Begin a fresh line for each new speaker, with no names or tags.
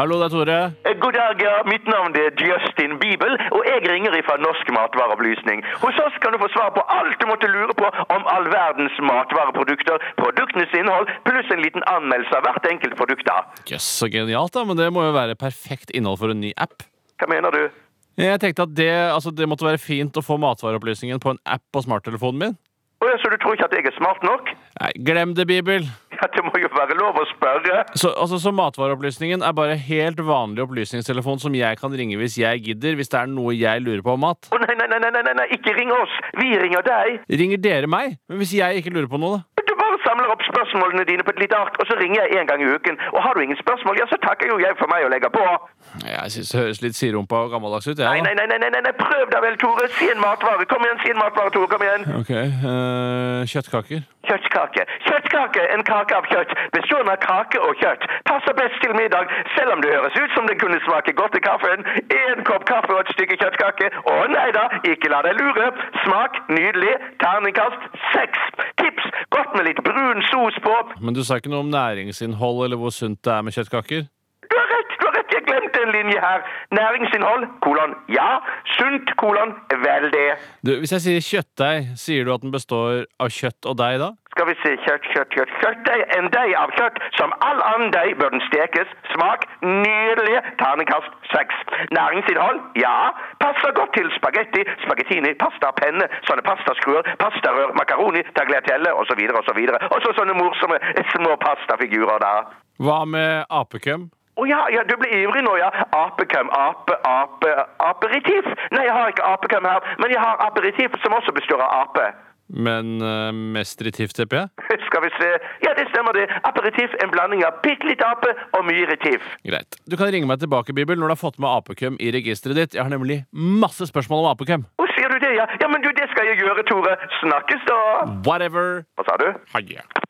Hallo, det er Tore.
Eh, God dag, ja. Mitt navn er Justin Bibel, og jeg ringer ifra Norsk matvareopplysning. Hos oss kan du få svar på alt du måtte lure på om all verdens matvareprodukter, produktenes innhold, pluss en liten anmeldelse av hvert enkelt produkt. da.
Jøss, så genialt, da. Men det må jo være perfekt innhold for en ny app.
Hva mener du?
Jeg tenkte at det, altså, det måtte være fint å få matvareopplysningen på en app på smarttelefonen min.
Å ja, Så du tror ikke at jeg er smart nok?
Nei, glem det, Bibel.
Ja, Det må jo være lov å spørre.
Så, altså, så matvareopplysningen er bare helt vanlig opplysningstelefon som jeg kan ringe hvis jeg gidder, hvis det er noe jeg lurer på om mat.
Å nei, nei, nei, nei, nei, nei, ikke ring oss. Vi ringer deg.
Ringer dere meg? Men hvis jeg ikke lurer på noe, da?
Du bare samler opp spørsmålene dine på et lite ark, og så ringer jeg en gang i uken. Og har du ingen spørsmål, ja, så takker jo jeg for meg og legger på.
Jeg synes det høres litt sirumpa og gammeldags ut, jeg.
Nei,
da.
nei, nei, nei, nei, nei, prøv deg vel, Tore. Si en matvare. Kom igjen, si en matvare, Tore. Kom igjen.
Ok, eh, kjøttkaker.
Kjøttkake. Kjøttkake, en kake av kjøtt, bestående av kake og kjøtt. Passer best til middag, selv om det høres ut som det kunne smake godt til kaffen. En kopp kaffe og et stykke kjøttkake. Å nei da, ikke la deg lure. Smak nydelig. Terningkast seks. Tips godt med litt brun sos på.
Men du sa ikke noe om næringsinnhold eller hvor sunt det er med kjøttkaker?
Du har rett, du har rett, jeg glemte en linje her. Næringsinnhold, kolon ja. Sunt, kolon vel det.
Du, hvis jeg sier kjøttdeig, sier du at den består av kjøtt og deig da?
Skal vi se, kjøtt, kjøtt, kjøtt, kjøttdeig. En deig av kjøtt. Som all annen deig bør den stekes. Smak nydelig. Terningkast seks. Næringsinnhold? Ja. Passer godt til spagetti, spagettini, pasta, penne, sånne pastaskruer, pastarør, makaroni, tagliatelle osv. osv. Og så sånne morsomme små pastafigurer, da.
Hva med apekøm?
Å ja, ja, du ble ivrig nå, ja. Apekøm, ape, ape, aperitif. Nei, jeg har ikke apekøm her, men jeg har aperitif som også består av ape.
Men eh, mest retivt, tipper jeg?
Skal vi se. Ja, det stemmer det. Aperitif, en blanding av bitte litt ape og mye retiv.
Greit. Du kan ringe meg tilbake, Bibel, når du har fått med apekøm i registeret ditt. Jeg har nemlig masse spørsmål om apekøm.
Å, sier du det, ja? Ja, men du, det skal jeg gjøre, Tore. Snakkes da.
Whatever.
Hva sa du?
Haie.